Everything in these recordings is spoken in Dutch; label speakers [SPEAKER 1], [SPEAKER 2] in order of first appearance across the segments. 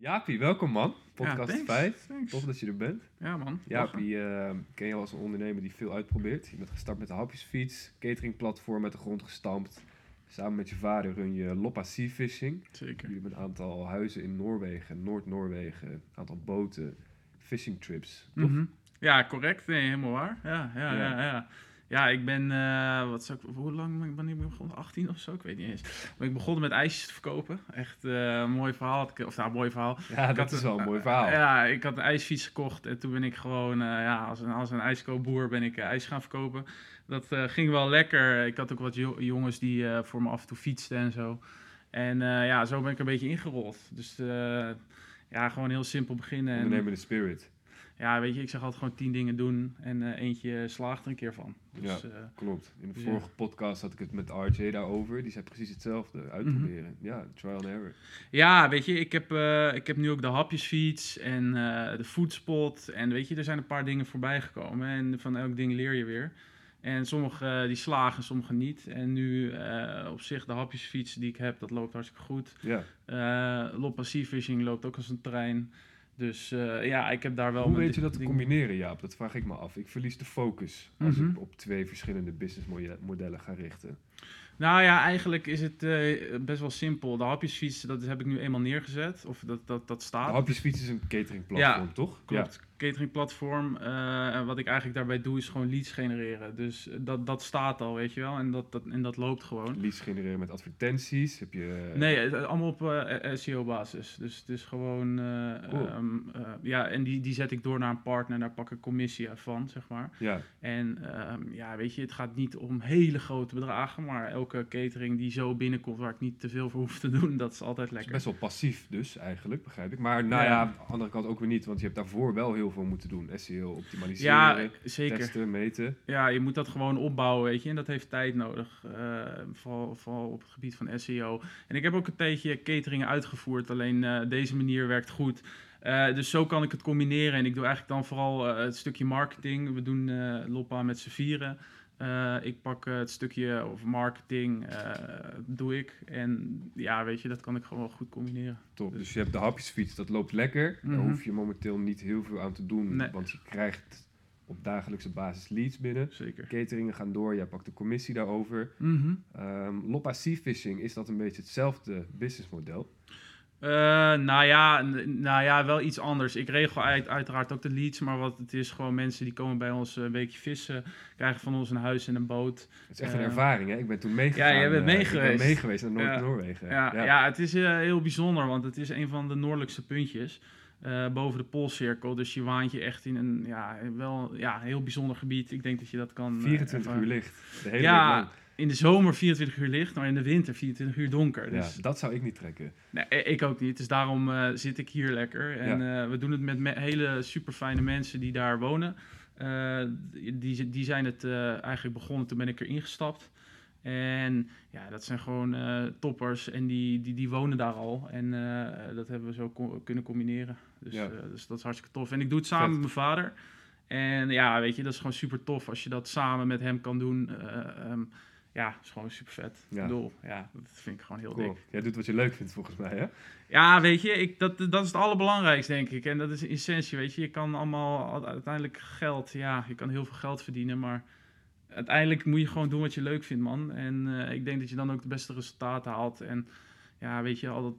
[SPEAKER 1] Jaapie, welkom man. Podcast
[SPEAKER 2] thanks,
[SPEAKER 1] 5.
[SPEAKER 2] thanks.
[SPEAKER 1] Tof dat je er bent.
[SPEAKER 2] Ja, man. Lachen.
[SPEAKER 1] Jaapie eh, ken je als een ondernemer die veel uitprobeert. Je bent gestart met de hapjesfiets, cateringplatform uit de grond gestampt. Samen met je vader run je Loppa Sea Fishing.
[SPEAKER 2] Zeker.
[SPEAKER 1] Jullie hebben een aantal huizen in Noorwegen, Noord-Noorwegen, een aantal boten, fishing trips. Toch?
[SPEAKER 2] Mhm. Ja, correct. Nee, helemaal waar. Ja, ja,
[SPEAKER 1] Ja.
[SPEAKER 2] ja. ja, ja. ik ben, eh, wat zou ik, hoe lang ben ik, ben ik begonnen? 18 of zo? Ik weet niet eens. Maar ik begon met ijsjes te verkopen. Echt eh, een mooi verhaal. had ik- Of nou, een mooi verhaal.
[SPEAKER 1] Ja, dat
[SPEAKER 2] had
[SPEAKER 1] is
[SPEAKER 2] een-
[SPEAKER 1] wel een mooi verhaal.
[SPEAKER 2] Ja, ik had een ijsfiets gekocht en toen ben ik gewoon, eh, ja, als een, als een ijskoopboer ben ik eh, ijs gaan verkopen. Dat eh, ging wel lekker. Ik had ook wat jo- jongens die eh, voor me af en toe fietsten en zo. En eh, ja, zo ben ik een beetje ingerold. Dus eh, ja, gewoon heel simpel beginnen. En,
[SPEAKER 1] Ondernemer in de spirit.
[SPEAKER 2] ja, weet je, ik zeg altijd gewoon tien dingen doen en eh, eentje slaagt er een keer van. Dus, ja.
[SPEAKER 1] Klopt. In de
[SPEAKER 2] Ja.
[SPEAKER 1] vorige podcast had ik het met RJ daarover. Die zei precies hetzelfde. Uitproberen.
[SPEAKER 2] Mhm.
[SPEAKER 1] Ja, trial and error.
[SPEAKER 2] ja, weet je, ik heb, eh, ik heb nu ook de hapjesfiets en eh, de foodspot. En weet je, er zijn een paar dingen voorbij gekomen. En van elk ding leer je weer. En sommige eh, die slagen, sommige niet. En nu eh, op zich de hapjesfiets die ik heb, dat loopt hartstikke goed.
[SPEAKER 1] Ja.
[SPEAKER 2] Eh Loppa Sea Fishing loopt ook als een trein. Dus eh, ja, ik heb daar wel...
[SPEAKER 1] Hoe
[SPEAKER 2] mijn
[SPEAKER 1] weet je
[SPEAKER 2] di-
[SPEAKER 1] dat te
[SPEAKER 2] dingen-
[SPEAKER 1] combineren, Jaap? Dat vraag ik me af. Ik verlies de focus als
[SPEAKER 2] Mhm.
[SPEAKER 1] ik op twee verschillende businessmodellen ga richten.
[SPEAKER 2] Nou ja, eigenlijk is het eh, best wel simpel. De hapjesfiets, dat heb ik nu eenmaal neergezet. Of dat, dat, dat
[SPEAKER 1] De
[SPEAKER 2] staat.
[SPEAKER 1] Hapjesfiets is een cateringplatform, toch?
[SPEAKER 2] Ah. Klopt. Cateringplatform. eh, en wat ik eigenlijk daarbij doe, is gewoon leads genereren. Dus dat, dat staat al, weet je wel. En dat, dat, en dat loopt
[SPEAKER 1] Ja.
[SPEAKER 2] gewoon.
[SPEAKER 1] Leads genereren met advertenties. Heb je... eh,
[SPEAKER 2] Nee, het- het- allemaal op eh, SEO-basis. Dus het is gewoon... eh,
[SPEAKER 1] Cool.
[SPEAKER 2] ehm, eh, ja, en die, die zet ik door naar een partner. Daar pak ik commissie van, zeg maar.
[SPEAKER 1] Ja,
[SPEAKER 2] En ehm, ja, weet je, het gaat niet om hele grote bedragen. Maar elke catering die zo binnenkomt, waar ik niet te veel voor hoef te doen, dat is altijd
[SPEAKER 1] het is
[SPEAKER 2] lekker.
[SPEAKER 1] best wel passief dus eigenlijk, begrijp ik. Maar nou ja,
[SPEAKER 2] Ja.
[SPEAKER 1] aan de andere kant ook weer niet. Want je hebt daarvoor wel heel veel moeten doen. SEO optimaliseren,
[SPEAKER 2] Ja, eh, zeker.
[SPEAKER 1] testen, meten.
[SPEAKER 2] Ja, je moet dat gewoon opbouwen, weet je. En dat heeft tijd nodig. eh, vooral, vooral op het gebied van SEO. En ik heb ook een tijdje cateringen uitgevoerd. Alleen eh, deze manier werkt goed. Eh, dus zo kan ik het combineren. En ik doe eigenlijk dan vooral eh, het stukje marketing. We doen eh, Loppa met z'n vieren. Eh, ik pak eh, het stukje of marketing, eh, doe ik. En ja, weet je, dat kan ik gewoon wel goed combineren.
[SPEAKER 1] Top. Dus je hebt de hapjesfiets, dat loopt lekker. Daar
[SPEAKER 2] Mhm.
[SPEAKER 1] hoef je momenteel niet heel veel aan te doen.
[SPEAKER 2] Nee.
[SPEAKER 1] Want je krijgt op dagelijkse basis leads binnen.
[SPEAKER 2] Zeker.
[SPEAKER 1] Cateringen gaan door, jij pakt de commissie daarover.
[SPEAKER 2] Mhm.
[SPEAKER 1] Ehm Loppa Sea Fishing, is dat een beetje hetzelfde businessmodel?
[SPEAKER 2] Eh, nou, ja, n- nou ja, wel iets anders. Ik regel uit, uiteraard ook de leads, maar wat het is gewoon mensen die komen bij ons eh, een weekje vissen, krijgen van ons een huis en een boot.
[SPEAKER 1] Het is echt een
[SPEAKER 2] Ja.
[SPEAKER 1] ervaring, hè? Ik ben toen meegegaan.
[SPEAKER 2] Ja, jij bent
[SPEAKER 1] eh, Ik
[SPEAKER 2] meegeweest.
[SPEAKER 1] ben meegeweest naar
[SPEAKER 2] Ja.
[SPEAKER 1] Noord-Noorwegen.
[SPEAKER 2] Ja, ja. het is eh, heel bijzonder, want het is een van de noordelijkste puntjes. eh, boven de Poolcirkel, dus je waant je echt in een ja, wel, ja, heel bijzonder gebied. Ik denk dat je dat kan... eh,
[SPEAKER 1] 24
[SPEAKER 2] ervaren.
[SPEAKER 1] uur licht, de hele
[SPEAKER 2] Ja,
[SPEAKER 1] week lang.
[SPEAKER 2] In de zomer 24 uur licht, maar in de winter 24 uur donker. Dus
[SPEAKER 1] Ja, dat zou ik niet trekken.
[SPEAKER 2] Nee, i- ik ook niet. Dus daarom eh, zit ik hier lekker. En eh, we doen het met me- hele super fijne mensen die daar wonen. Eh, die, zi- die zijn het eh, eigenlijk begonnen, toen ben ik erin gestapt. En ja, dat zijn gewoon eh, toppers en die, die, die wonen daar al. En eh, dat hebben we zo co- kunnen combineren. Dus,
[SPEAKER 1] Ja.
[SPEAKER 2] eh, dus dat is hartstikke tof. En ik doe het samen
[SPEAKER 1] Vet.
[SPEAKER 2] met mijn vader. En ja, weet je, dat is gewoon super tof als je dat samen met hem kan doen. Eh, ehm, ja, is gewoon super vet.
[SPEAKER 1] Ja.
[SPEAKER 2] Ik bedoel, ja, dat vind ik gewoon heel dik.
[SPEAKER 1] Cool. Jij doet wat je leuk vindt volgens mij, hè?
[SPEAKER 2] Ja, weet je, ik, dat, dat is het allerbelangrijkste, denk ik. En dat is in essentie, weet je. Je kan allemaal, uiteindelijk geld, ja, je kan heel veel geld verdienen, maar uiteindelijk moet je gewoon doen wat je leuk vindt, man. En eh, ik denk dat je dan ook de beste resultaten haalt. En ja, weet je, al dat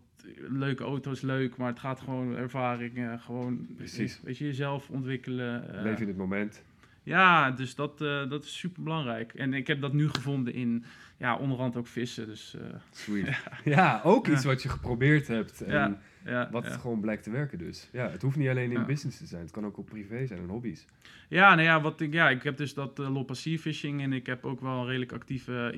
[SPEAKER 2] leuke auto's leuk, maar het gaat gewoon om ervaring, eh, gewoon,
[SPEAKER 1] Precies.
[SPEAKER 2] weet je, jezelf ontwikkelen. eh,
[SPEAKER 1] Leef in het moment.
[SPEAKER 2] ja, dus dat, eh, dat is super belangrijk. En ik heb dat nu gevonden in, ja, onderhand ook vissen, dus eh,
[SPEAKER 1] Sweet. Ja, ook
[SPEAKER 2] Ja.
[SPEAKER 1] iets wat je geprobeerd hebt. En
[SPEAKER 2] Ja. ja.
[SPEAKER 1] Wat
[SPEAKER 2] ja.
[SPEAKER 1] gewoon blijkt te werken dus. Ja, het hoeft niet alleen in
[SPEAKER 2] Ja.
[SPEAKER 1] business te zijn. Het kan ook op privé zijn en hobby's.
[SPEAKER 2] Ja, nou ja, wat ik, ja, ik heb dus dat uh, Loppa Sea Fishing en ik heb ook wel een redelijk actieve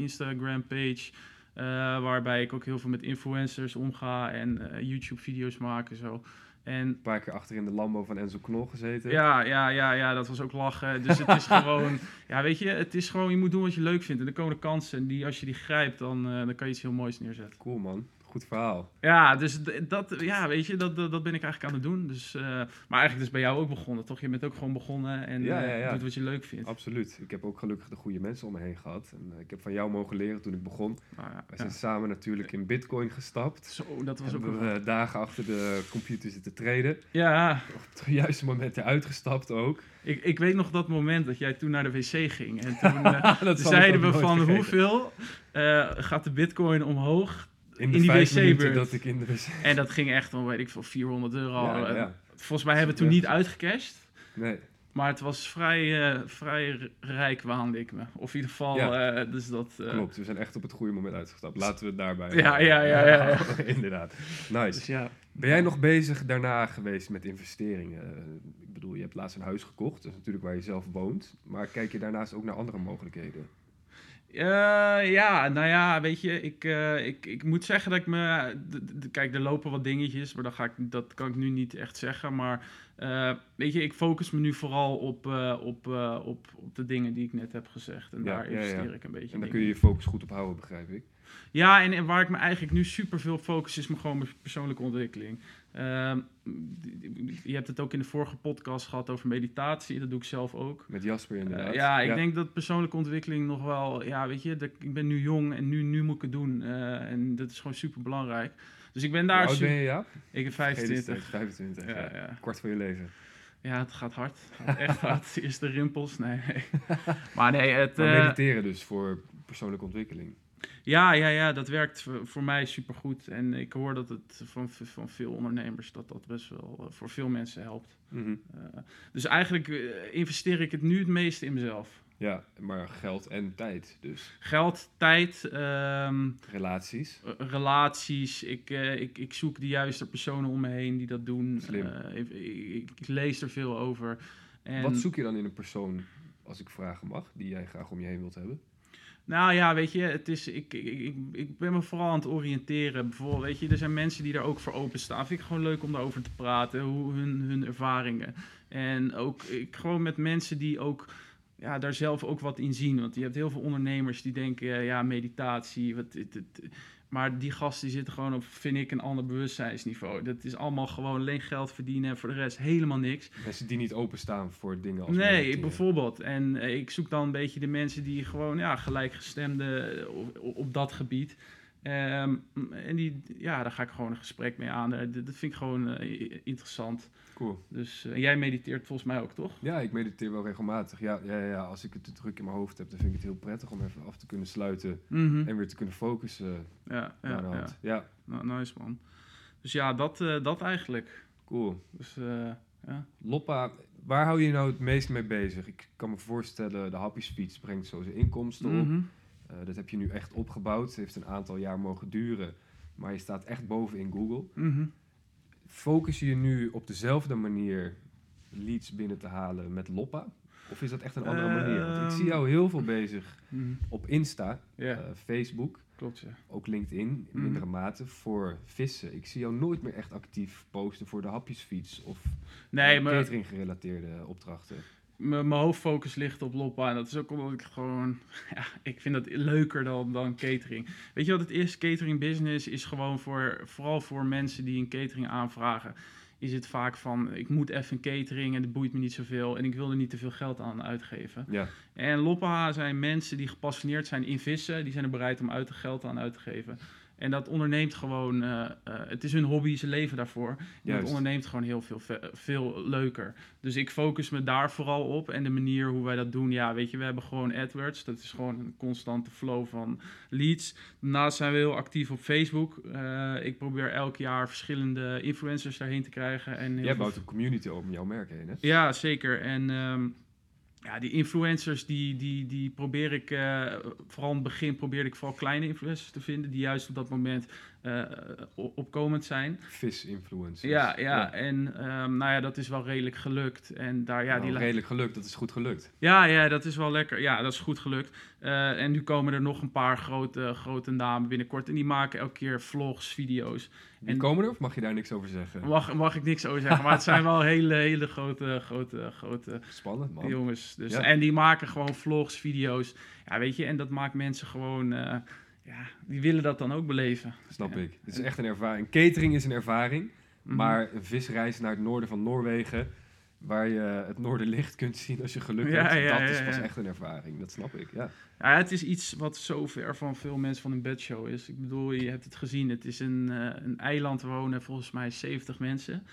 [SPEAKER 2] Instagram-page. eh, waarbij ik ook heel veel met influencers omga en eh, YouTube-video's maak en zo. En
[SPEAKER 1] Een paar keer achter in de Lambo van Enzo Knol gezeten.
[SPEAKER 2] ja, ja, ja, ja, dat was ook lachen. Dus het is gewoon, ja, weet je, het is gewoon, je moet doen wat je leuk vindt. En er komen de kansen en die, als je die grijpt, dan, eh, dan kan je iets heel moois neerzetten.
[SPEAKER 1] Cool man. Goed Goed verhaal.
[SPEAKER 2] Ja, dus d- dat, ja, weet je, dat, dat, dat ben ik eigenlijk aan het doen. Dus, eh, maar eigenlijk is bij jou ook begonnen, toch? Je bent ook gewoon begonnen en
[SPEAKER 1] Ja,
[SPEAKER 2] eh,
[SPEAKER 1] ja, ja.
[SPEAKER 2] doet wat je leuk vindt.
[SPEAKER 1] Absoluut. Ik heb ook gelukkig de goede mensen om me heen gehad. En eh, ik heb van jou mogen leren toen ik begon.
[SPEAKER 2] Maar ja,
[SPEAKER 1] We
[SPEAKER 2] ja.
[SPEAKER 1] zijn samen natuurlijk in Bitcoin gestapt.
[SPEAKER 2] Zo, dat was ook
[SPEAKER 1] Hebben
[SPEAKER 2] wel...
[SPEAKER 1] we dagen achter de computer zitten treden.
[SPEAKER 2] Ja,
[SPEAKER 1] Op het juiste moment eruit gestapt ook.
[SPEAKER 2] ik, ik weet nog dat moment dat jij toen naar de wc ging. En toen eh,
[SPEAKER 1] Dat zal ik
[SPEAKER 2] zeiden
[SPEAKER 1] ook
[SPEAKER 2] we
[SPEAKER 1] nooit
[SPEAKER 2] van
[SPEAKER 1] vergeten.
[SPEAKER 2] hoeveel eh, gaat de bitcoin omhoog?
[SPEAKER 1] In, de
[SPEAKER 2] in die
[SPEAKER 1] vijf
[SPEAKER 2] wc-beurt.
[SPEAKER 1] minuten dat ik in de wc...
[SPEAKER 2] En dat ging echt om, weet ik veel, 400 euro.
[SPEAKER 1] Ja,
[SPEAKER 2] Eh,
[SPEAKER 1] ja.
[SPEAKER 2] Volgens mij hebben we toen niet uitgecashed.
[SPEAKER 1] Nee.
[SPEAKER 2] Maar het was vrij, eh, vrij r- rijk, waande ik me. Of in ieder geval,
[SPEAKER 1] Ja.
[SPEAKER 2] eh, dus dat... eh,
[SPEAKER 1] Klopt, we zijn echt op het goede moment uitgestapt. Laten we het daarbij.
[SPEAKER 2] Ja, ja, ja, ja,
[SPEAKER 1] Inderdaad.
[SPEAKER 2] Dus
[SPEAKER 1] Nice.
[SPEAKER 2] ja,
[SPEAKER 1] Ben jij nog bezig daarna geweest met investeringen? Eh, Ik bedoel, je hebt laatst een huis gekocht. Dat is natuurlijk waar je zelf woont. Maar kijk je daarnaast ook naar andere mogelijkheden?
[SPEAKER 2] Eh, ja, nou ja, weet je, ik, eh, ik, ik moet zeggen dat ik me. d- d- Kijk, er lopen wat dingetjes, maar dat, ga ik, dat kan ik nu niet echt zeggen. Maar eh, weet je, ik focus me nu vooral op, eh, op, eh, op, op de dingen die ik net heb gezegd. En
[SPEAKER 1] Ja,
[SPEAKER 2] daar
[SPEAKER 1] ja, ja.
[SPEAKER 2] investeer ik een beetje
[SPEAKER 1] En daar
[SPEAKER 2] in.
[SPEAKER 1] kun je je focus goed op houden, begrijp ik.
[SPEAKER 2] Ja, en, en waar ik me eigenlijk nu super veel op focus is me gewoon mijn persoonlijke ontwikkeling. Ehm, je hebt het ook in de vorige podcast gehad over meditatie, dat doe ik zelf ook.
[SPEAKER 1] Met Jasper inderdaad.
[SPEAKER 2] Eh, ja, ik denk dat persoonlijke ontwikkeling nog wel, ja, weet je, dat, ik ben nu jong en nu, nu moet ik het doen. eh, en dat is gewoon super belangrijk. Dus ik ben
[SPEAKER 1] Hoe
[SPEAKER 2] daar.
[SPEAKER 1] oud
[SPEAKER 2] su-
[SPEAKER 1] ben je, ja?
[SPEAKER 2] Ik ben
[SPEAKER 1] Geen
[SPEAKER 2] 25.
[SPEAKER 1] idee, 25,
[SPEAKER 2] Ja,
[SPEAKER 1] ja.
[SPEAKER 2] ja.
[SPEAKER 1] Kwart van je leven.
[SPEAKER 2] ja, het gaat hard. Het gaat echt hard. Eerst de rimpels. Nee. nee. Maar nee, het.
[SPEAKER 1] Maar
[SPEAKER 2] eh,
[SPEAKER 1] mediteren dus voor persoonlijke ontwikkeling.
[SPEAKER 2] ja, ja, ja, dat werkt voor, voor mij super goed. En ik hoor dat het van, van veel ondernemers dat dat best wel eh, voor veel mensen helpt.
[SPEAKER 1] Mhm.
[SPEAKER 2] Eh, dus eigenlijk eh, investeer ik het nu het meeste in mezelf.
[SPEAKER 1] Ja, maar geld en tijd dus.
[SPEAKER 2] Geld, tijd, ehm,
[SPEAKER 1] Relaties.
[SPEAKER 2] Eh, relaties. Ik, eh, ik, ik zoek de juiste personen om me heen die dat doen.
[SPEAKER 1] Slim.
[SPEAKER 2] Eh, ik, ik, ik lees er veel over. En,
[SPEAKER 1] Wat zoek je dan in een persoon, als ik vragen mag, die jij graag om je heen wilt hebben?
[SPEAKER 2] Nou ja, weet je, het is, ik, ik, ik, ik ben me vooral aan het oriënteren. Bijvoorbeeld, weet je, er zijn mensen die daar ook voor openstaan. Vind ik gewoon leuk om daarover te praten, hoe hun, hun ervaringen. En ook ik, gewoon met mensen die ook ja, daar zelf ook wat in zien. Want je hebt heel veel ondernemers die denken, eh, ja, meditatie, wat, dit- dit- maar die gasten die zitten gewoon op, vind ik, een ander bewustzijnsniveau. Dat is allemaal gewoon alleen geld verdienen en voor de rest helemaal niks.
[SPEAKER 1] Mensen die niet openstaan voor dingen als
[SPEAKER 2] Nee,
[SPEAKER 1] mediteren.
[SPEAKER 2] bijvoorbeeld. En eh, ik zoek dan een beetje de mensen die gewoon ja, gelijkgestemden eh, op, op dat gebied. Ehm, en die, ja, daar ga ik gewoon een gesprek mee aan. Eh, Dat, dat vind ik gewoon eh, interessant.
[SPEAKER 1] Cool.
[SPEAKER 2] Dus eh, jij mediteert volgens mij ook, toch?
[SPEAKER 1] Ja, ik mediteer wel regelmatig. Ja, ja, ja, ja, als ik het te druk in mijn hoofd heb, dan vind ik het heel prettig om even af te kunnen sluiten
[SPEAKER 2] Mhm.
[SPEAKER 1] en weer te kunnen focussen. eh,
[SPEAKER 2] Ja, ja,
[SPEAKER 1] naar de
[SPEAKER 2] ja.
[SPEAKER 1] hand. ja.
[SPEAKER 2] Nou, nice man. Dus ja, dat, eh, dat eigenlijk.
[SPEAKER 1] cool.
[SPEAKER 2] Dus, eh, ja.
[SPEAKER 1] Loppa, waar hou je je nou het meest mee bezig? Ik kan me voorstellen, de Happy Speech brengt zo zijn inkomsten op.
[SPEAKER 2] Mhm.
[SPEAKER 1] Eh, dat heb je nu echt opgebouwd. Het heeft een aantal jaar mogen duren. Maar je staat echt boven in Google.
[SPEAKER 2] Mhm.
[SPEAKER 1] Focus je je nu op dezelfde manier leads binnen te halen met Loppa? Of is dat echt een andere manier? Want ik zie
[SPEAKER 2] Ehm.
[SPEAKER 1] jou heel veel bezig
[SPEAKER 2] Mhm.
[SPEAKER 1] op Insta,
[SPEAKER 2] Ja,
[SPEAKER 1] eh, Facebook,
[SPEAKER 2] klopt ja.
[SPEAKER 1] ook LinkedIn in
[SPEAKER 2] Mhm.
[SPEAKER 1] mindere mate voor vissen. Ik zie jou nooit meer echt actief posten voor de hapjesfiets of eh,
[SPEAKER 2] Nee, maar
[SPEAKER 1] catering gerelateerde opdrachten.
[SPEAKER 2] mijn mijn hoofdfocus ligt op Loppa. En dat is ook omdat ik gewoon... Ja, ik vind dat leuker dan, dan catering. Weet je wat het is? Catering business is gewoon voor... Vooral voor mensen die een catering aanvragen... Is het vaak van, ik moet even een catering en dat boeit me niet zoveel. En ik wil er niet te veel geld aan uitgeven.
[SPEAKER 1] Ja.
[SPEAKER 2] En Loppa zijn mensen die gepassioneerd zijn in vissen. Die zijn er bereid om uit de geld aan uit te geven. En dat onderneemt gewoon... eh, eh, het is hun hobby, ze leven daarvoor. En dat
[SPEAKER 1] Juist.
[SPEAKER 2] onderneemt gewoon heel veel, ve- veel leuker. Dus ik focus me daar vooral op. En de manier hoe wij dat doen. Ja, weet je, we hebben gewoon AdWords. Dat is gewoon een constante flow van leads. Daarnaast zijn we heel actief op Facebook. Eh, ik probeer elk jaar verschillende influencers daarheen te krijgen. En heel
[SPEAKER 1] Jij
[SPEAKER 2] veel
[SPEAKER 1] bouwt een community om jouw merk heen, hè?
[SPEAKER 2] ja, zeker. En ehm, ja, die influencers, die, die, die probeer ik, eh, vooral in het begin probeerde ik vooral kleine influencers te vinden, die juist op dat moment eh, op- opkomend zijn.
[SPEAKER 1] Vis-influencers.
[SPEAKER 2] Ja, ja, en ehm, nou ja, dat is wel redelijk gelukt. En daar, ja,
[SPEAKER 1] Nou,
[SPEAKER 2] die la-
[SPEAKER 1] redelijk gelukt, dat is goed gelukt.
[SPEAKER 2] ja, ja, dat is wel lekker. Ja, dat is goed gelukt. Eh, en nu komen er nog een paar grote, grote namen binnenkort. En die maken elke keer vlogs, video's.
[SPEAKER 1] Wie
[SPEAKER 2] En-
[SPEAKER 1] komen er of mag je daar niks over zeggen?
[SPEAKER 2] Mag, mag ik niks over zeggen, maar het zijn wel hele, hele grote, grote, grote
[SPEAKER 1] Spannend, man.
[SPEAKER 2] jongens. Dus,
[SPEAKER 1] Ja.
[SPEAKER 2] En die maken gewoon vlogs, video's. Ja, weet je, en dat maakt mensen gewoon eh, ja, die willen dat dan ook beleven.
[SPEAKER 1] Snap
[SPEAKER 2] Ja.
[SPEAKER 1] ik. Het is echt een ervaring. Catering is een ervaring.
[SPEAKER 2] Mhm.
[SPEAKER 1] Maar een visreis naar het noorden van Noorwegen, waar je het noorderlicht kunt zien als je geluk
[SPEAKER 2] Ja,
[SPEAKER 1] hebt,
[SPEAKER 2] ja,
[SPEAKER 1] dat
[SPEAKER 2] ja,
[SPEAKER 1] is pas
[SPEAKER 2] ja.
[SPEAKER 1] echt een ervaring. Dat snap ik, ja.
[SPEAKER 2] Ja, het is iets wat zo ver van veel mensen van een bedshow is. Ik bedoel, je hebt het gezien. Het is een, eh, een eiland waar wonen volgens mij 70 mensen.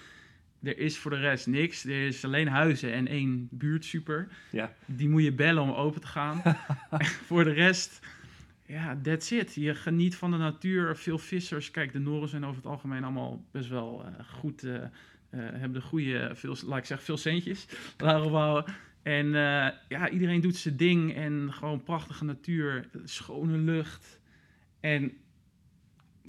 [SPEAKER 2] Er is voor de rest niks. Er is alleen huizen en één buurtsuper.
[SPEAKER 1] Ja.
[SPEAKER 2] Die moet je bellen om open te gaan. voor de rest, ja, that's it. Je geniet van de natuur. Veel vissers. Kijk, de Noren zijn over het algemeen allemaal best wel eh, goed. eh, eh, hebben de goede, veel, laat ik zeggen, veel centjes. Daarop houden. En eh, ja, iedereen doet zijn ding en gewoon prachtige natuur, schone lucht. En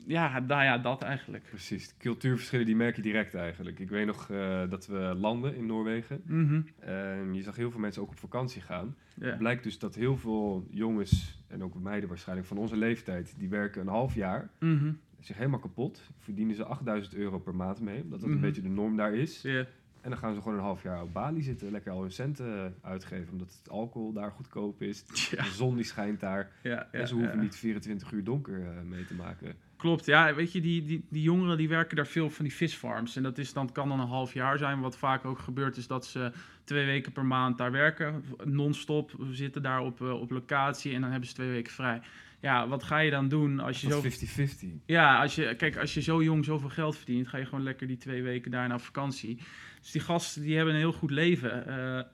[SPEAKER 2] ja, nou ja, dat eigenlijk.
[SPEAKER 1] Precies. De Cultuurverschillen die merk je direct eigenlijk. Ik weet nog eh, dat we landen in Noorwegen.
[SPEAKER 2] Mhm,
[SPEAKER 1] En je zag heel veel mensen ook op vakantie gaan.
[SPEAKER 2] ja.
[SPEAKER 1] Blijkt dus dat heel veel jongens, en ook meiden waarschijnlijk van onze leeftijd, die werken een half jaar,
[SPEAKER 2] Mhm,
[SPEAKER 1] zich helemaal kapot. Verdienen ze 8000 euro per maand mee, omdat dat
[SPEAKER 2] Mhm.
[SPEAKER 1] een beetje de norm daar is.
[SPEAKER 2] ja.
[SPEAKER 1] En dan gaan ze gewoon een half jaar op Bali zitten, lekker al hun centen uitgeven, omdat het alcohol daar goedkoop is.
[SPEAKER 2] Tja,
[SPEAKER 1] De zon die schijnt daar.
[SPEAKER 2] ja, ja,
[SPEAKER 1] en ze hoeven
[SPEAKER 2] ja.
[SPEAKER 1] niet 24 uur donker eh, mee te maken.
[SPEAKER 2] Klopt, ja, weet je, die, die, die jongeren die werken daar veel van die visfarms. En dat is dan, kan dan een half jaar zijn. Wat vaak ook gebeurt is dat ze twee weken per maand daar werken. Non-stop, we zitten daar op, eh, op locatie en dan hebben ze twee weken vrij. Ja, wat ga je dan doen als je
[SPEAKER 1] Dat
[SPEAKER 2] zo...
[SPEAKER 1] is 50-50.
[SPEAKER 2] Ja, als je, kijk, als je zo jong zoveel geld verdient, ga je gewoon lekker die twee weken daarna op vakantie. Dus die gasten die hebben een heel goed leven. Eh, eh,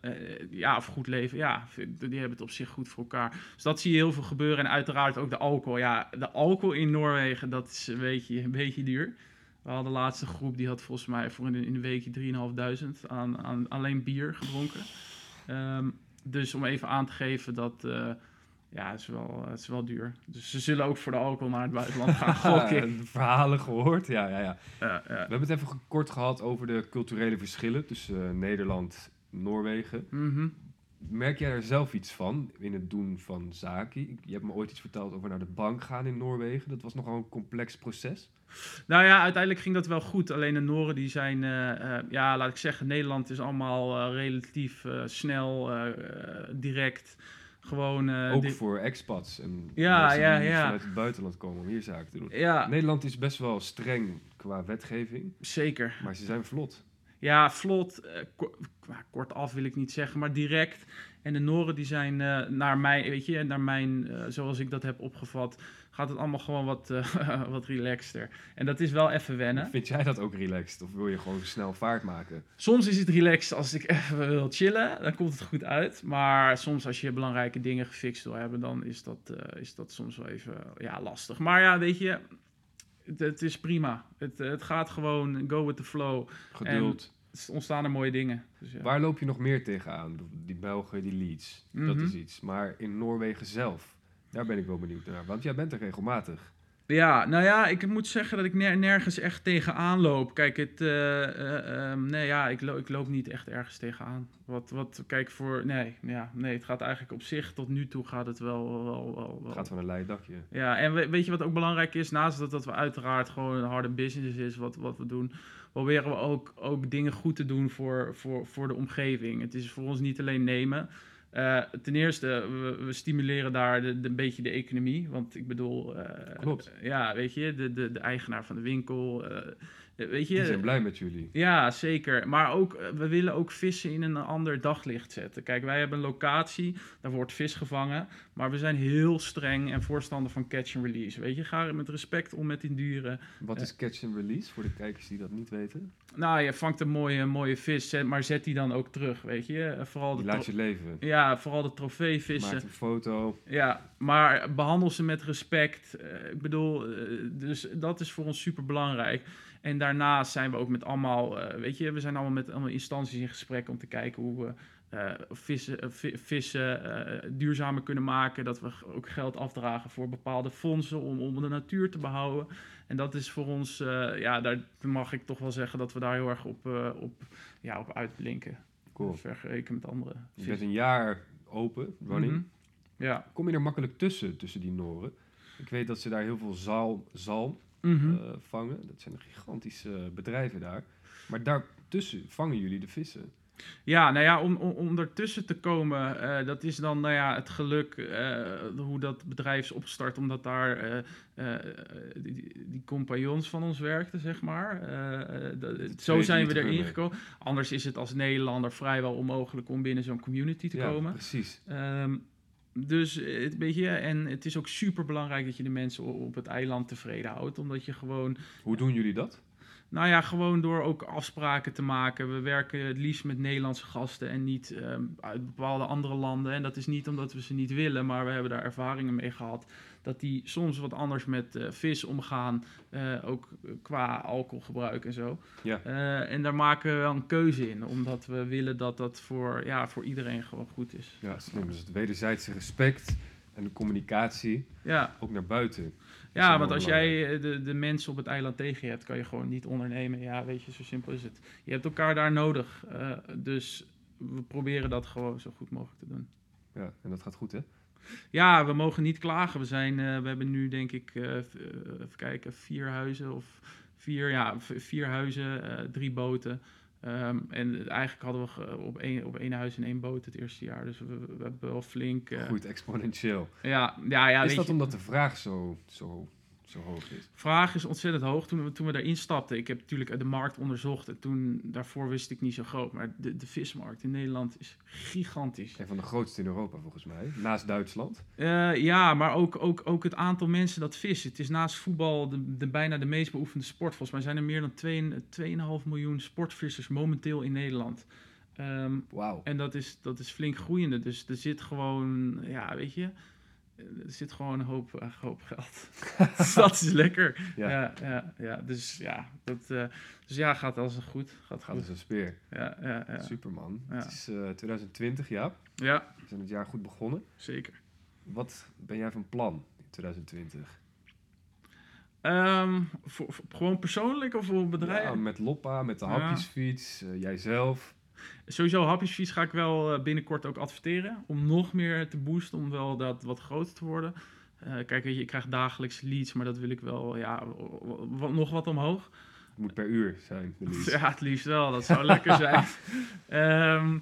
[SPEAKER 2] ja, of goed leven, ja, vind- die hebben het op zich goed voor elkaar. Dus dat zie je heel veel gebeuren. En uiteraard ook de alcohol. Ja, de alcohol in Noorwegen, dat is een beetje, een beetje duur. We hadden de laatste groep, die had volgens mij voor in een, in een weekje 3.500 aan, aan alleen bier gedronken. Ehm, dus om even aan te geven dat... eh, ja, het is, wel, het is wel duur. Dus ze zullen ook voor de alcohol naar het buitenland gaan. Gok ik.
[SPEAKER 1] Verhalen gehoord, ja, ja, ja.
[SPEAKER 2] Ja, ja.
[SPEAKER 1] We hebben het even ge- kort gehad over de culturele verschillen tussen eh, Nederland en Noorwegen.
[SPEAKER 2] Mhm.
[SPEAKER 1] Merk jij er zelf iets van in het doen van zaken? Ik- Je hebt me ooit iets verteld over naar de bank gaan in Noorwegen. Dat was nogal een complex proces.
[SPEAKER 2] Nou ja, uiteindelijk ging dat wel goed. Alleen de Noren die zijn, eh, eh, ja, laat ik zeggen, Nederland is allemaal eh, relatief eh, snel, eh, eh, direct. Gewoon. eh,
[SPEAKER 1] Ook
[SPEAKER 2] di-
[SPEAKER 1] voor expats en
[SPEAKER 2] Ja,
[SPEAKER 1] mensen die
[SPEAKER 2] ja,
[SPEAKER 1] niet
[SPEAKER 2] ja.
[SPEAKER 1] vanuit het buitenland komen om hier zaken te doen.
[SPEAKER 2] Ja,
[SPEAKER 1] Nederland is best wel streng qua wetgeving,
[SPEAKER 2] zeker.
[SPEAKER 1] maar ze zijn vlot.
[SPEAKER 2] Ja, vlot, eh, ko- nou, kortaf wil ik niet zeggen, maar direct. En de Noren die zijn eh, naar mij, weet je, naar mijn, eh, zoals ik dat heb opgevat, gaat het allemaal gewoon wat, eh, wat relaxter. En dat is wel even wennen.
[SPEAKER 1] Vind jij dat ook relaxed? Of wil je gewoon snel vaart maken?
[SPEAKER 2] Soms is het relaxed als ik even wil chillen, dan komt het goed uit. Maar soms als je belangrijke dingen gefixt wil hebben, dan is dat, eh, is dat soms wel even ja, lastig. Maar ja, weet je, het, het is prima. Het, eh, het gaat gewoon, go with the flow.
[SPEAKER 1] Geduld.
[SPEAKER 2] Er ontstaan er mooie dingen. Dus, ja.
[SPEAKER 1] Waar loop je nog meer tegenaan? Bijvoorbeeld Die Belgen, die Leeds, dat
[SPEAKER 2] Mhm.
[SPEAKER 1] is iets. Maar in Noorwegen zelf, daar ben ik wel benieuwd naar. Want jij bent er regelmatig.
[SPEAKER 2] Ja, nou ja, ik moet zeggen dat ik ner- nergens echt tegenaan loop. Kijk, het, eh, eh, ehm, nee, ja, ik, lo- ik loop niet echt ergens tegenaan. Wat, wat, kijk, voor, nee, ja, nee, het gaat eigenlijk op zich, tot nu toe gaat het wel, wel, wel, wel.
[SPEAKER 1] Het gaat van een leien dakje.
[SPEAKER 2] Ja, en we- weet je wat ook belangrijk is? Naast dat, dat we uiteraard gewoon een harde business is wat, wat we doen, proberen we ook, ook dingen goed te doen voor, voor, voor de omgeving. Het is voor ons niet alleen nemen. Eh, ten eerste, we, we stimuleren daar de, de- een beetje de economie. Want ik bedoel, eh,
[SPEAKER 1] Klopt.
[SPEAKER 2] ja, weet je, de, de, de eigenaar van de winkel. eh, weet je,
[SPEAKER 1] Die zijn blij met jullie.
[SPEAKER 2] ja, zeker. Maar ook, eh, we willen ook vissen in een ander daglicht zetten. Kijk, wij hebben een locatie, daar wordt vis gevangen. Maar we zijn heel streng en voorstander van catch and release. Weet je, ga met respect om met die dieren.
[SPEAKER 1] Wat
[SPEAKER 2] Ja.
[SPEAKER 1] is catch and release voor de kijkers die dat niet weten?
[SPEAKER 2] Nou, je vangt een mooie, mooie vis, zet- maar zet die dan ook terug, weet je. Eh, Vooral de,
[SPEAKER 1] Die laat
[SPEAKER 2] tro-
[SPEAKER 1] je leven.
[SPEAKER 2] ja, vooral de trofeevissen.
[SPEAKER 1] Maakt een foto.
[SPEAKER 2] Ja, maar behandel ze met respect. Eh, ik bedoel, eh, dus dat is voor ons super belangrijk. En daarnaast zijn we ook met allemaal, eh, weet je, we zijn allemaal met allemaal instanties in gesprek om te kijken hoe we eh, vissen, eh, vi- vissen eh, duurzamer kunnen maken. Dat we g- ook geld afdragen voor bepaalde fondsen om, om de natuur te behouden. En dat is voor ons, eh, ja, daar mag ik toch wel zeggen dat we daar heel erg op, eh, op, ja, op uitblinken.
[SPEAKER 1] Cool.
[SPEAKER 2] Vergeleken met andere
[SPEAKER 1] Je bent
[SPEAKER 2] vissen.
[SPEAKER 1] een jaar open, running.
[SPEAKER 2] Mhm. Ja.
[SPEAKER 1] Kom je er makkelijk tussen, tussen die Noren? Ik weet dat ze daar heel veel zaal, zalm
[SPEAKER 2] Mhm.
[SPEAKER 1] eh, vangen. Dat zijn gigantische eh, bedrijven daar. Maar daartussen vangen jullie de vissen.
[SPEAKER 2] Ja, nou ja, om, om, om ertussen te komen, eh, dat is dan nou ja, het geluk eh, hoe dat bedrijf is opgestart, omdat daar eh, eh, die, die- die compagnons van ons werkten, zeg maar. Eh, eh, dat- zo
[SPEAKER 1] twee
[SPEAKER 2] zijn we
[SPEAKER 1] die
[SPEAKER 2] erin
[SPEAKER 1] terug-
[SPEAKER 2] gekomen. Anders is het als Nederlander vrijwel onmogelijk om binnen zo'n community te
[SPEAKER 1] ja,
[SPEAKER 2] komen.
[SPEAKER 1] precies.
[SPEAKER 2] Ehm, dus eh, het beetje, en het is ook super belangrijk dat je de mensen o- op het eiland tevreden houdt, omdat je gewoon
[SPEAKER 1] Hoe doen jullie dat?
[SPEAKER 2] nou ja, gewoon door ook afspraken te maken. We werken het liefst met Nederlandse gasten en niet ehm, uit bepaalde andere landen. En dat is niet omdat we ze niet willen, maar we hebben daar ervaringen mee gehad. Dat die soms wat anders met eh, vis omgaan, eh, ook qua alcoholgebruik en zo.
[SPEAKER 1] Ja.
[SPEAKER 2] Eh, en daar maken we wel een keuze in, omdat we willen dat dat voor, ja, voor iedereen gewoon goed is.
[SPEAKER 1] Ja, slim. Dus het wederzijdse respect en de communicatie
[SPEAKER 2] Ja.
[SPEAKER 1] ook naar buiten.
[SPEAKER 2] Ja,
[SPEAKER 1] wel
[SPEAKER 2] want als
[SPEAKER 1] belangrijk.
[SPEAKER 2] jij eh, de, de mensen op het eiland tegen je hebt, kan je gewoon niet ondernemen. Ja, weet je, zo simpel is het. Je hebt elkaar daar nodig. eh, dus we proberen dat gewoon zo goed mogelijk te doen.
[SPEAKER 1] Ja, en dat gaat goed, hè?
[SPEAKER 2] Ja, we mogen niet klagen. We, zijn, eh, we hebben nu, denk ik, eh, v- eh, even kijken, vier huizen of vier, ja, v- vier huizen, eh, drie boten. Ehm, en eigenlijk hadden we ge- op één, op één huis en één boot het eerste jaar. Dus we, we hebben wel flink. eh,
[SPEAKER 1] Goed, exponentieel.
[SPEAKER 2] Ja, ja, ja,
[SPEAKER 1] is
[SPEAKER 2] weet
[SPEAKER 1] dat
[SPEAKER 2] je-
[SPEAKER 1] omdat de vraag zo, zo, zo hoog is?
[SPEAKER 2] vraag is ontzettend hoog toen we, toen we daarin stapten. Ik heb natuurlijk de markt onderzocht en toen, daarvoor wist ik niet zo groot. Maar de, de vismarkt in Nederland is gigantisch.
[SPEAKER 1] Een van de grootste in Europa, volgens mij. Naast Duitsland.
[SPEAKER 2] Eh, ja, maar ook, ook, ook het aantal mensen dat vis. Het is naast voetbal de, de bijna de meest beoefende sport. Volgens mij zijn er meer dan twee- 2,5 miljoen sportvissers momenteel in Nederland. Ehm,
[SPEAKER 1] Wauw.
[SPEAKER 2] en dat is, dat is flink groeiende. Dus er zit gewoon, ja, weet je, eh, er zit gewoon een hoop, een hoop geld. Dus dat is lekker.
[SPEAKER 1] Ja.
[SPEAKER 2] Ja, ja, ja, dus ja, dat, eh, dus ja, gaat als een goed. Gaat
[SPEAKER 1] Gaat als
[SPEAKER 2] goed.
[SPEAKER 1] een speer.
[SPEAKER 2] Ja, ja, ja.
[SPEAKER 1] Superman.
[SPEAKER 2] Ja.
[SPEAKER 1] Het is eh, 2020, ja.
[SPEAKER 2] ja,
[SPEAKER 1] We zijn het jaar goed begonnen.
[SPEAKER 2] zeker.
[SPEAKER 1] Wat ben jij van plan in 2020?
[SPEAKER 2] Ehm, voor, voor- gewoon persoonlijk of voor bedrijven?
[SPEAKER 1] Ja, met Loppa, met de
[SPEAKER 2] Ja.
[SPEAKER 1] hapjesfiets, eh, jijzelf.
[SPEAKER 2] Sowieso, hapjesfiets ga ik wel eh, binnenkort ook adverteren. Om nog meer te boosten, om wel dat wat groter te worden. Eh, kijk, weet je, ik krijg dagelijks leads, maar dat wil ik wel, ja, w- w- w- nog wat omhoog.
[SPEAKER 1] Het moet per uur zijn, de lease.
[SPEAKER 2] Ja, het liefst wel. Dat zou lekker zijn. Ehm,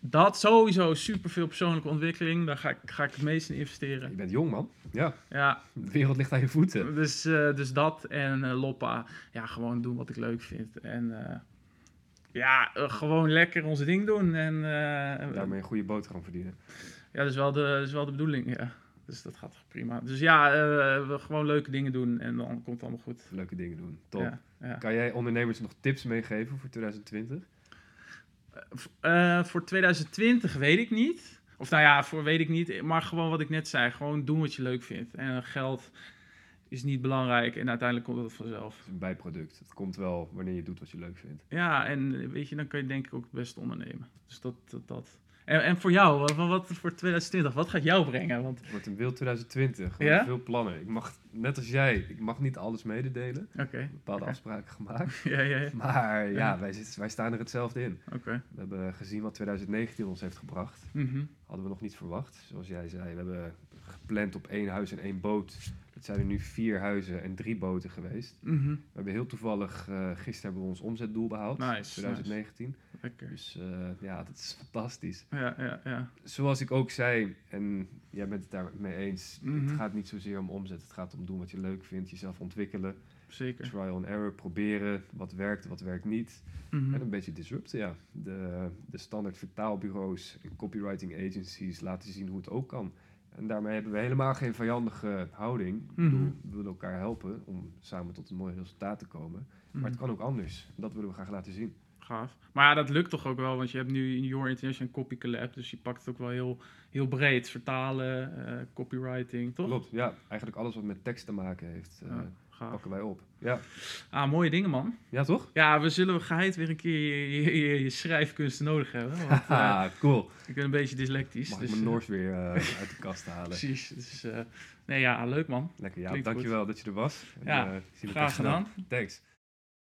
[SPEAKER 2] dat sowieso superveel persoonlijke ontwikkeling. Daar ga ik, ga ik het meest in investeren.
[SPEAKER 1] Je bent jong, man. Ja,
[SPEAKER 2] Ja,
[SPEAKER 1] de wereld ligt aan je voeten.
[SPEAKER 2] dus, eh, dus dat en eh, Loppa. Ja, gewoon doen wat ik leuk vind. En eh, ja, eh, gewoon lekker ons ding doen. En eh,
[SPEAKER 1] Daarmee een goede boterham verdienen.
[SPEAKER 2] ja, dat is wel de, dat is wel de bedoeling. Ja. Dus dat gaat prima. Dus ja, eh, we gewoon leuke dingen doen en dan komt het allemaal goed.
[SPEAKER 1] Leuke dingen doen. Top.
[SPEAKER 2] Ja, ja.
[SPEAKER 1] Kan jij ondernemers nog tips meegeven voor 2020?
[SPEAKER 2] V- eh, voor 2020 weet ik niet. Of nou ja, voor weet ik niet. Maar gewoon wat ik net zei. Gewoon doen wat je leuk vindt. En geld is niet belangrijk. En uiteindelijk komt dat vanzelf.
[SPEAKER 1] Het is een bijproduct. Het komt wel wanneer je doet wat je leuk vindt.
[SPEAKER 2] Ja, en weet je, dan kun je denk ik ook het beste ondernemen. Dus dat. dat, dat. En, en voor jou, wat, wat voor 2020? Wat gaat jou brengen? Want,
[SPEAKER 1] Het wordt een wild 2020. We hebben
[SPEAKER 2] Ja?
[SPEAKER 1] Veel plannen. Ik mag, net als jij, ik mag niet alles mededelen.
[SPEAKER 2] oké.
[SPEAKER 1] Bepaalde
[SPEAKER 2] Oké.
[SPEAKER 1] afspraken gemaakt.
[SPEAKER 2] Ja, ja, ja.
[SPEAKER 1] Maar ja, wij, zitten- wij staan er hetzelfde in.
[SPEAKER 2] Oké.
[SPEAKER 1] We hebben gezien wat 2019 ons heeft gebracht.
[SPEAKER 2] Mhm.
[SPEAKER 1] Hadden we nog niet verwacht. Zoals jij zei, we hebben gepland op één huis en één boot. Het zijn er nu vier huizen en drie boten geweest.
[SPEAKER 2] Mhm.
[SPEAKER 1] We hebben heel toevallig, eh gisteren hebben we ons omzetdoel behaald.
[SPEAKER 2] Nice,
[SPEAKER 1] 2019.
[SPEAKER 2] Lekker.
[SPEAKER 1] Dus eh, ja, dat is fantastisch.
[SPEAKER 2] Ja, ja, ja.
[SPEAKER 1] Zoals ik ook zei, en jij bent het daarmee eens.
[SPEAKER 2] Mhm.
[SPEAKER 1] Het gaat niet zozeer om omzet. Het gaat om doen wat je leuk vindt. Jezelf ontwikkelen.
[SPEAKER 2] Zeker.
[SPEAKER 1] Trial and error. Proberen. Wat werkt, wat werkt niet.
[SPEAKER 2] Mhm.
[SPEAKER 1] En een beetje disrupten, ja. De, de standaard vertaalbureaus en copywriting agencies laten zien hoe het ook kan. En daarmee hebben we helemaal geen vijandige houding. Ik bedoel,
[SPEAKER 2] Mhm.
[SPEAKER 1] We willen elkaar helpen om samen tot een mooi resultaat te komen. Maar
[SPEAKER 2] Mhm.
[SPEAKER 1] het kan ook anders. Dat willen we graag laten zien.
[SPEAKER 2] Gaaf. Maar ja, dat lukt toch ook wel, want je hebt nu in Your International Copy Collab, dus je pakt het ook wel heel, heel breed. Vertalen, eh, copywriting, toch?
[SPEAKER 1] Klopt, ja. Eigenlijk alles wat met tekst te maken heeft, eh,
[SPEAKER 2] Ja, gaaf.
[SPEAKER 1] pakken wij op. Ja,
[SPEAKER 2] Ah, mooie dingen, man.
[SPEAKER 1] ja toch?
[SPEAKER 2] Ja, we zullen geheid weer een keer je, je, je- je schrijfkunsten nodig hebben, want eh,
[SPEAKER 1] Haha, Ah, cool.
[SPEAKER 2] ik ben een beetje dyslectisch.
[SPEAKER 1] Mag ik
[SPEAKER 2] dus,
[SPEAKER 1] mijn
[SPEAKER 2] eh,
[SPEAKER 1] Noors weer eh, uit de kast halen.
[SPEAKER 2] precies. Dus, eh, nee, ja, leuk man.
[SPEAKER 1] Lekker, ja.
[SPEAKER 2] Klinkt
[SPEAKER 1] Dankjewel dat je er was. En,
[SPEAKER 2] Ja,
[SPEAKER 1] eh, ik zie je
[SPEAKER 2] Graag
[SPEAKER 1] graag gedaan.
[SPEAKER 2] gedaan.
[SPEAKER 1] Thanks.